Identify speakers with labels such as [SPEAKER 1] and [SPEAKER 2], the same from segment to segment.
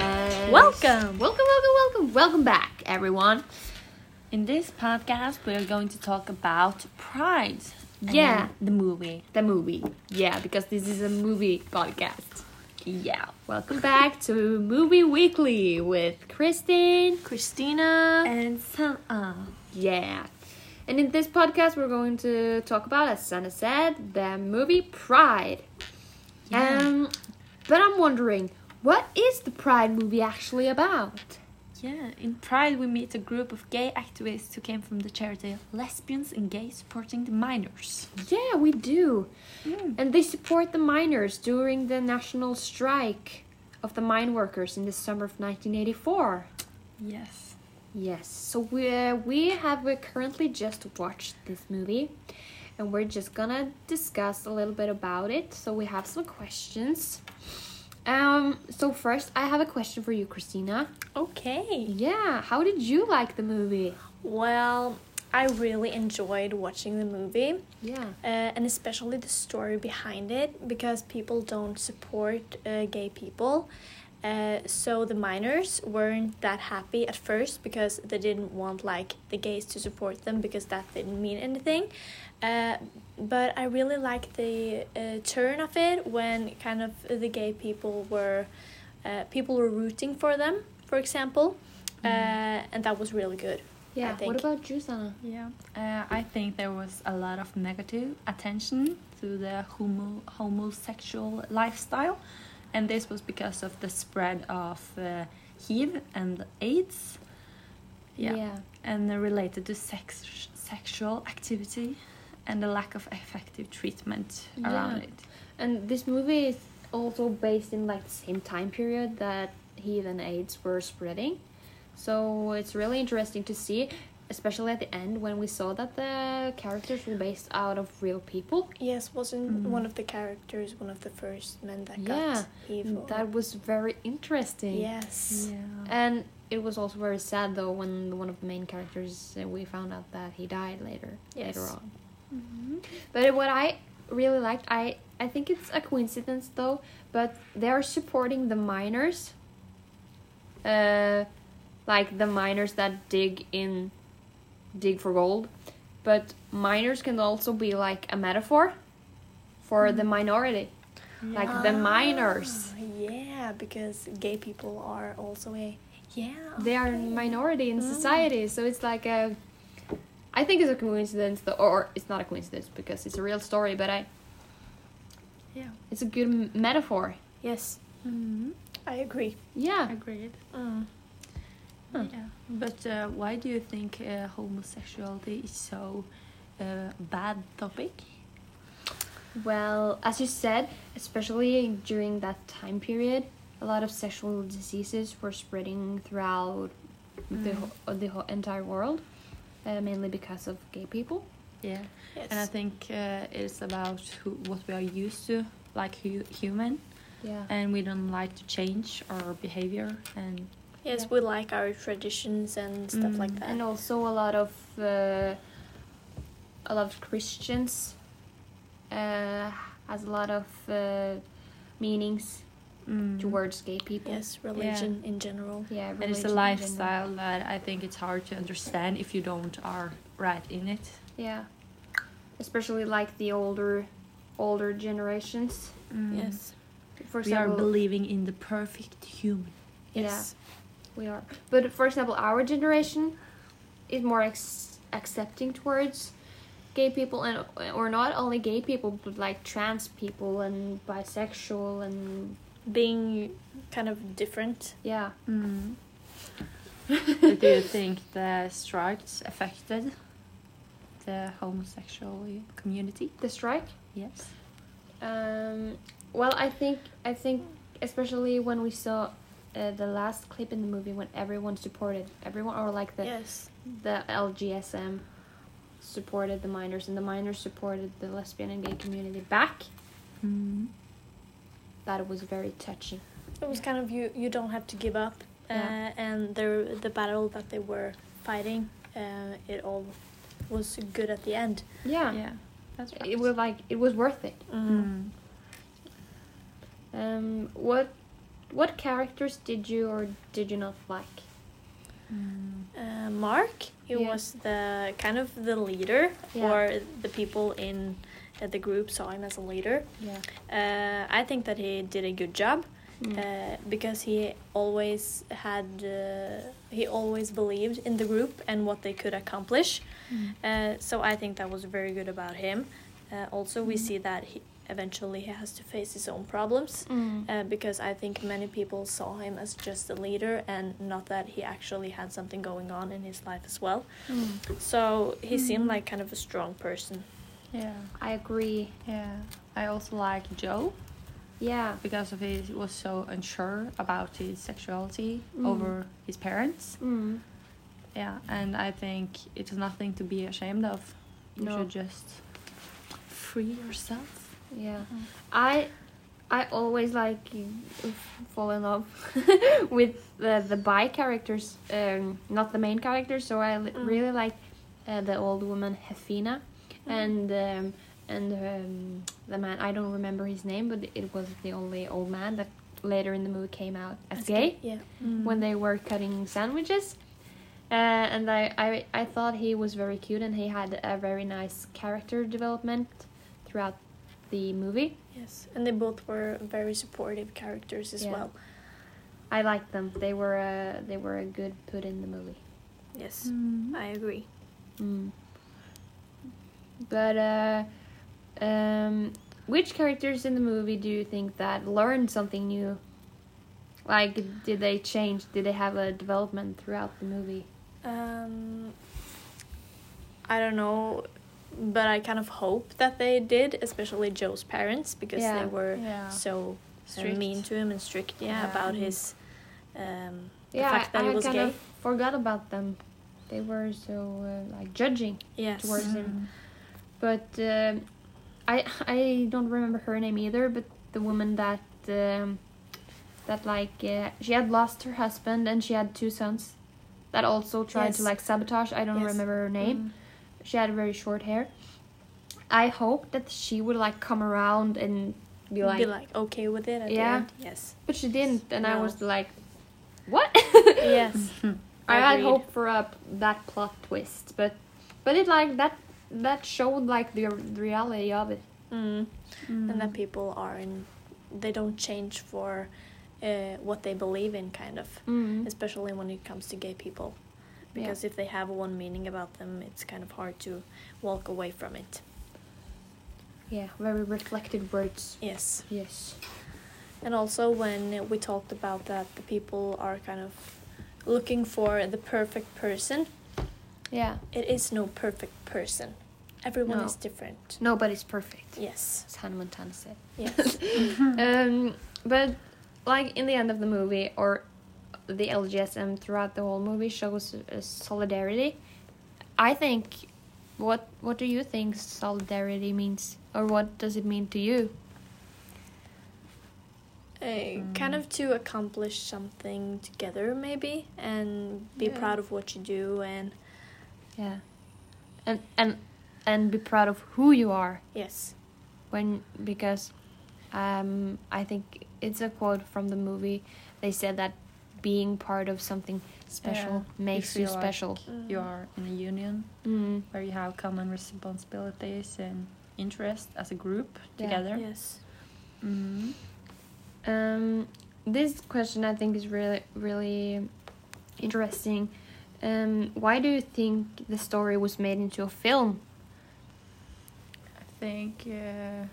[SPEAKER 1] Welcome, welcome, welcome, welcome, welcome back, everyone.
[SPEAKER 2] In this podcast, we're going to talk about Pride. I
[SPEAKER 1] Yeah.
[SPEAKER 2] mean, the movie.
[SPEAKER 1] The movie, yeah, because this is a movie podcast.
[SPEAKER 2] Yeah.
[SPEAKER 1] Welcome back to Movie Weekly with Kristen, Christina,
[SPEAKER 2] And some. Uh,
[SPEAKER 1] yeah. And in this podcast, we're going to talk about, as Sana said, the movie Pride.
[SPEAKER 2] Yeah.
[SPEAKER 1] Um, but I'm wondering, what is the Pride movie actually about?
[SPEAKER 2] yeah. In Pride, we meet a group of gay activists who came from the charity Lesbians and Gays Supporting the Minors.
[SPEAKER 1] Yeah, we do.
[SPEAKER 2] Mm.
[SPEAKER 1] And they support the miners during the national strike of the mine workers in the summer of 1984.
[SPEAKER 2] Yes.
[SPEAKER 1] Yes, so we, uh, we have we currently just watched this movie and we're just gonna discuss a little bit about it. So we have some questions. Um, so first, I have a question for you, Christina.
[SPEAKER 3] Okay.
[SPEAKER 1] Yeah, how did you like the movie?
[SPEAKER 3] Well, I really enjoyed watching the movie
[SPEAKER 1] Yeah.
[SPEAKER 3] uh, and especially the story behind it because people don't support uh, gay people. Uh, so the miners weren't that happy at first because they didn't want like the gays to support them because that didn't mean anything. Uh, but I really liked the uh, turn of it when kind of the gay people were uh, people were rooting for them, for example, uh, and that was really good. I
[SPEAKER 1] Yeah,
[SPEAKER 3] think.
[SPEAKER 1] what about you, Sana?
[SPEAKER 2] Yeah. Uh, I think there was a lot of negative attention to the homo- homosexual lifestyle. And this was because of the spread of uh, HIV and AIDS.
[SPEAKER 1] yeah.
[SPEAKER 2] and they're related to sex sexual activity and the lack of effective treatment
[SPEAKER 1] Yeah.
[SPEAKER 2] around it.
[SPEAKER 1] And this movie is also based in like the same time period that HIV and AIDS were spreading. So it's really interesting to see, especially at the end when we saw that the characters were based out of real people.
[SPEAKER 3] Yes, wasn't
[SPEAKER 2] Mm.
[SPEAKER 3] one of the characters one of the first men that
[SPEAKER 1] Yeah, mm,
[SPEAKER 3] got evil?
[SPEAKER 1] That was very interesting.
[SPEAKER 3] yes.
[SPEAKER 2] Yeah.
[SPEAKER 1] And it was also very sad though when one of the main characters uh, we found out that he died later later
[SPEAKER 3] Yes.
[SPEAKER 1] on.
[SPEAKER 2] Mm-hmm.
[SPEAKER 1] But what I really liked, I I think it's a coincidence though, but they are supporting the miners. Uh, like the miners that dig in, dig for gold, but miners can also be like a metaphor for
[SPEAKER 3] Mm-hmm.
[SPEAKER 1] the minority, like the miners.
[SPEAKER 3] Ah, yeah, because gay people are also a yeah.
[SPEAKER 1] They are a
[SPEAKER 3] okay.
[SPEAKER 1] minority in
[SPEAKER 3] Mm.
[SPEAKER 1] society, so it's like a. I think it's a coincidence, though, or it's not a coincidence because it's a real story. But I,
[SPEAKER 2] Yeah.
[SPEAKER 1] it's a good m- metaphor.
[SPEAKER 3] Yes,
[SPEAKER 2] Mm-hmm.
[SPEAKER 3] I agree.
[SPEAKER 1] Yeah.
[SPEAKER 2] Agreed.
[SPEAKER 3] Mm.
[SPEAKER 1] Hmm.
[SPEAKER 2] Yeah. But uh, why do you think uh, homosexuality is so uh, bad topic?
[SPEAKER 1] Well, as you said, especially during that time period, a lot of sexual diseases were spreading throughout the
[SPEAKER 2] Mm.
[SPEAKER 1] ho- uh, the whole entire world, uh, mainly because of gay people.
[SPEAKER 2] Yeah.
[SPEAKER 3] Yes.
[SPEAKER 2] And I think uh, it's about who, what we are used to, like hu- human,
[SPEAKER 1] Yeah.
[SPEAKER 2] and we don't like to change our behavior. And
[SPEAKER 3] yes,
[SPEAKER 1] Yeah.
[SPEAKER 3] we like our traditions and stuff like
[SPEAKER 2] Mm,
[SPEAKER 3] that.
[SPEAKER 1] And also a lot of uh, a lot of Christians uh, has a lot of uh, meanings
[SPEAKER 2] Mm.
[SPEAKER 1] towards gay people.
[SPEAKER 3] yes, religion in general.
[SPEAKER 1] Yeah.
[SPEAKER 2] And it's a
[SPEAKER 1] religion in general.
[SPEAKER 2] lifestyle that I think it's hard to understand if you don't are right in it.
[SPEAKER 1] Yeah. Especially like the older older generations.
[SPEAKER 3] Yes.
[SPEAKER 1] For
[SPEAKER 2] We are
[SPEAKER 1] example,
[SPEAKER 2] believing in the perfect human.
[SPEAKER 1] Yeah.
[SPEAKER 3] Yes.
[SPEAKER 1] we are. But for example, our generation is more ex- accepting towards gay people and or not only gay people but like trans people and bisexual and
[SPEAKER 3] Being kind of different.
[SPEAKER 1] yeah. Mm.
[SPEAKER 2] But do you think the strikes affected the homosexual community?
[SPEAKER 1] The strike.
[SPEAKER 2] Yes.
[SPEAKER 1] Um, well, I think I think especially when we saw uh, the last clip in the movie when everyone supported everyone or like the
[SPEAKER 3] yes.
[SPEAKER 1] the LGSM supported the minors and the minors supported the lesbian and gay community back. Mm. That was very touching.
[SPEAKER 3] It was kind of you. You don't have to give up.
[SPEAKER 1] Yeah.
[SPEAKER 3] Uh, and the the battle that they were fighting, uh, it all was good at the end.
[SPEAKER 1] Yeah.
[SPEAKER 2] Yeah. That's right.
[SPEAKER 1] It Mm-hmm. was like it was worth it.
[SPEAKER 2] Mm.
[SPEAKER 1] Um what What characters did you or did you not like? Mm.
[SPEAKER 3] Uh, Mark, he
[SPEAKER 1] Yeah.
[SPEAKER 3] was the kind of the leader,
[SPEAKER 1] Yeah.
[SPEAKER 3] or the people in uh, the group saw him as a leader.
[SPEAKER 1] Yeah.
[SPEAKER 3] Uh, I think that he did a good job
[SPEAKER 1] Mm.
[SPEAKER 3] uh, because he always had uh, he always believed in the group and what they could accomplish.
[SPEAKER 2] Mm.
[SPEAKER 3] Uh, so I think that was very good about him. Uh, also, we see that he eventually he has to face his own problems
[SPEAKER 1] Mm.
[SPEAKER 3] uh, because I think many people saw him as just a leader and not that he actually had something going on in his life as well.
[SPEAKER 1] Mm.
[SPEAKER 3] So he
[SPEAKER 1] Mm-hmm.
[SPEAKER 3] seemed like kind of a strong person.
[SPEAKER 2] Yeah.
[SPEAKER 1] I agree.
[SPEAKER 2] Yeah. I also like Joe
[SPEAKER 1] Yeah.
[SPEAKER 2] because of his he was so unsure about his sexuality
[SPEAKER 1] Mm.
[SPEAKER 2] over his parents.
[SPEAKER 1] Mm.
[SPEAKER 2] Yeah, and I think it's nothing to be ashamed of. You
[SPEAKER 1] No.
[SPEAKER 2] should just free yourself.
[SPEAKER 1] Yeah. I I always like fall in love with the the bi characters, um, not the main characters. So I li-
[SPEAKER 3] Mm.
[SPEAKER 1] really like uh, the old woman Hefina, and um, and um, the man I don't remember his name, but it was the only old man that later in the movie came out as gay
[SPEAKER 3] Yeah.
[SPEAKER 2] Mm.
[SPEAKER 1] when they were cutting sandwiches. Uh, and I, I, I thought he was very cute and he had a very nice character development throughout the movie.
[SPEAKER 3] Yes, and they both were very supportive characters as
[SPEAKER 1] Yeah.
[SPEAKER 3] well.
[SPEAKER 1] I liked them. They were a, they were a good put in the movie.
[SPEAKER 3] Yes,
[SPEAKER 1] Mm-hmm. Mm.
[SPEAKER 3] I agree.
[SPEAKER 1] But uh, um, which characters in the movie do you think that learned something new? Like, did they change? Did they have a development throughout the movie?
[SPEAKER 3] Um, I don't know, but I kind of hope that they did, especially Joe's parents, because
[SPEAKER 1] Yeah.
[SPEAKER 3] they were
[SPEAKER 2] Yeah.
[SPEAKER 3] so uh,
[SPEAKER 2] Strict.
[SPEAKER 3] mean to him and strict. Yeah,
[SPEAKER 2] Yeah.
[SPEAKER 3] about
[SPEAKER 2] Mhm.
[SPEAKER 3] his um, the
[SPEAKER 1] yeah,
[SPEAKER 3] fact that
[SPEAKER 1] I
[SPEAKER 3] he was
[SPEAKER 1] kind
[SPEAKER 3] gay.
[SPEAKER 1] of forgot about them. They were so uh, like judging
[SPEAKER 3] yes.
[SPEAKER 1] towards
[SPEAKER 3] Mm-hmm.
[SPEAKER 1] him. But um I I don't remember her name either. But the woman that um, that like uh, she had lost her husband and she had two sons that also tried to
[SPEAKER 3] Yes.
[SPEAKER 1] like sabotage. I don't
[SPEAKER 3] Yes. Mm-hmm.
[SPEAKER 1] remember her name. She had very short hair. I hope that she would like come around and be like,
[SPEAKER 3] be like okay with it at
[SPEAKER 1] Yeah.
[SPEAKER 3] the end. Yes.
[SPEAKER 1] but she didn't, and I
[SPEAKER 3] No.
[SPEAKER 1] was like, what?
[SPEAKER 3] Yes.
[SPEAKER 1] I had
[SPEAKER 3] Agreed.
[SPEAKER 1] hope for a that plot twist, but but it like that that showed like the reality of it.
[SPEAKER 3] Mm. And that
[SPEAKER 2] Mm.
[SPEAKER 3] people are in, they don't change for uh, what they believe in, kind of.
[SPEAKER 1] Mm.
[SPEAKER 3] especially when it comes to gay people because if they have one meaning about them it's kind of hard to walk away from it
[SPEAKER 1] Yeah, very reflected words.
[SPEAKER 3] yes
[SPEAKER 1] Yes.
[SPEAKER 3] and also when we talked about that the people are kind of looking for the perfect person
[SPEAKER 1] Yeah.
[SPEAKER 3] it is no perfect person everyone
[SPEAKER 1] No.
[SPEAKER 3] is different
[SPEAKER 1] Nobody's perfect,
[SPEAKER 3] yes
[SPEAKER 1] as Hannah Montana said.
[SPEAKER 3] yes
[SPEAKER 1] Um, but like in the end of the movie, or the LGSM throughout the whole movie shows uh, solidarity. I think. What What do you think solidarity means, or what does it mean to you?
[SPEAKER 3] uh, kind of to accomplish something together maybe and be
[SPEAKER 2] Yeah.
[SPEAKER 3] proud of what you do and
[SPEAKER 1] Yeah. And and and be proud of who you are
[SPEAKER 3] yes
[SPEAKER 1] when because um I think it's a quote from the movie. They said that being part of something special
[SPEAKER 2] Yeah.
[SPEAKER 1] makes you,
[SPEAKER 2] feel like
[SPEAKER 1] special.
[SPEAKER 3] Mm-hmm.
[SPEAKER 2] you are in a union
[SPEAKER 1] Mm.
[SPEAKER 2] where you have common responsibilities and interests as a group
[SPEAKER 1] Yeah.
[SPEAKER 2] together.
[SPEAKER 3] yes
[SPEAKER 2] Mm.
[SPEAKER 1] Um this question I think is really really interesting. Um why do you think the story was made into a film?
[SPEAKER 2] I think uh,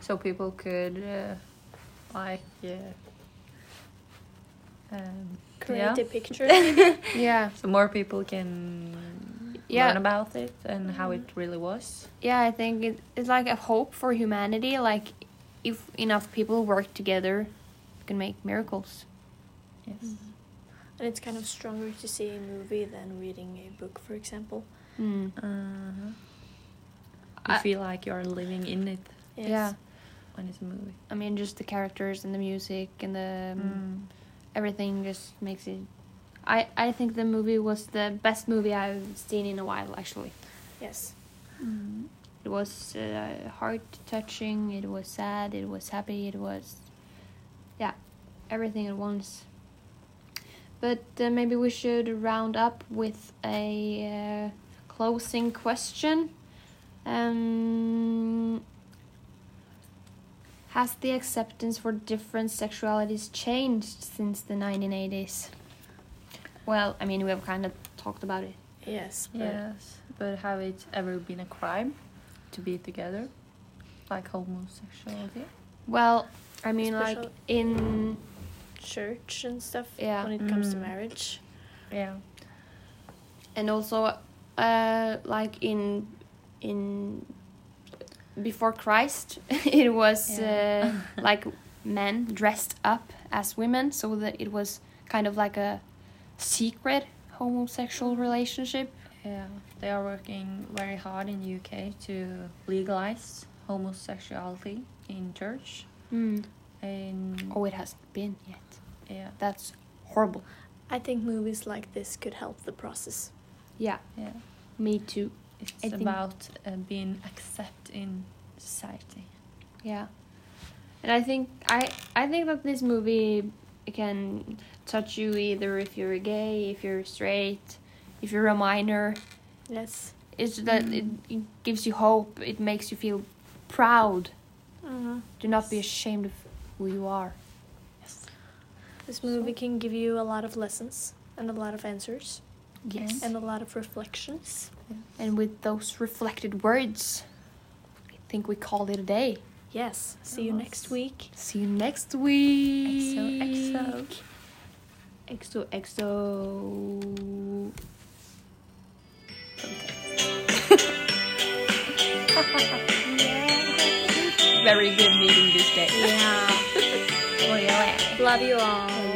[SPEAKER 2] so people could uh, like uh, um,
[SPEAKER 3] create
[SPEAKER 2] yeah.
[SPEAKER 3] a picture
[SPEAKER 1] Yeah.
[SPEAKER 2] so more people can
[SPEAKER 1] Yeah.
[SPEAKER 2] learn about it and how it
[SPEAKER 3] Mm-hmm.
[SPEAKER 2] really was.
[SPEAKER 1] Yeah, I think it, it's like a hope for humanity. Like, if enough people work together, you can make miracles.
[SPEAKER 2] Yes.
[SPEAKER 3] And it's kind of stronger to see a movie than reading a book, for example.
[SPEAKER 1] Mm.
[SPEAKER 3] Mm-hmm.
[SPEAKER 2] Uh-huh. You
[SPEAKER 1] I-
[SPEAKER 2] feel like you're living in it
[SPEAKER 1] Yeah,
[SPEAKER 2] when it's a movie. Mm.
[SPEAKER 1] I mean, just the characters and the music and the
[SPEAKER 2] Hmm.
[SPEAKER 1] um,
[SPEAKER 3] Mm-hmm.
[SPEAKER 1] everything just makes it. I I think the movie was the best movie I've seen in a while. Actually,
[SPEAKER 3] Yes. Mm-hmm.
[SPEAKER 1] it was uh, heart touching. It was sad. It was happy. It was, yeah, everything at once. But uh, maybe we should round up with a uh, closing question. Um, has the acceptance for different sexualities changed since the 1980s? Well, I mean, we have kind of talked about it.
[SPEAKER 3] Yes. But
[SPEAKER 2] Yes, but have it ever been a crime to be together, like homosexuality?
[SPEAKER 1] Well, I mean, like
[SPEAKER 3] Special-
[SPEAKER 1] in
[SPEAKER 3] Church and stuff.
[SPEAKER 1] Yeah.
[SPEAKER 3] When it comes to
[SPEAKER 2] Mm.
[SPEAKER 3] marriage.
[SPEAKER 2] Yeah.
[SPEAKER 1] and also uh, like in in before Christ, it was
[SPEAKER 2] Yeah.
[SPEAKER 1] uh, like men dressed up as women, so that it was kind of like a secret homosexual relationship.
[SPEAKER 2] Yeah, they are working very hard in the UK to legalize homosexuality in church. In
[SPEAKER 1] Oh, it hasn't been yet.
[SPEAKER 2] yeah,
[SPEAKER 1] That's horrible.
[SPEAKER 3] I think movies like this could help the process.
[SPEAKER 1] Yeah,
[SPEAKER 2] yeah,
[SPEAKER 1] me too.
[SPEAKER 2] it's
[SPEAKER 1] I think-
[SPEAKER 2] about uh, being accepted in society.
[SPEAKER 1] Yeah, and I think I I think that this movie can touch you either if you're gay, if you're straight, if you're a minor.
[SPEAKER 3] Yes.
[SPEAKER 1] It's that it, it gives you hope. It makes you feel proud.
[SPEAKER 3] Mm-hmm.
[SPEAKER 1] Do not be ashamed of who you are.
[SPEAKER 2] Yes.
[SPEAKER 3] This movie can give you a lot of lessons and a lot of answers
[SPEAKER 2] Yes.
[SPEAKER 3] and a lot of reflections.
[SPEAKER 1] And with those reflected words, I think we call it a day.
[SPEAKER 3] Yes. See you next
[SPEAKER 2] Yes.
[SPEAKER 3] week.
[SPEAKER 1] See you next week.
[SPEAKER 2] XOXO.
[SPEAKER 1] XO XO.
[SPEAKER 2] Very good meeting this day.
[SPEAKER 3] Yeah. Love you all.
[SPEAKER 1] Bye.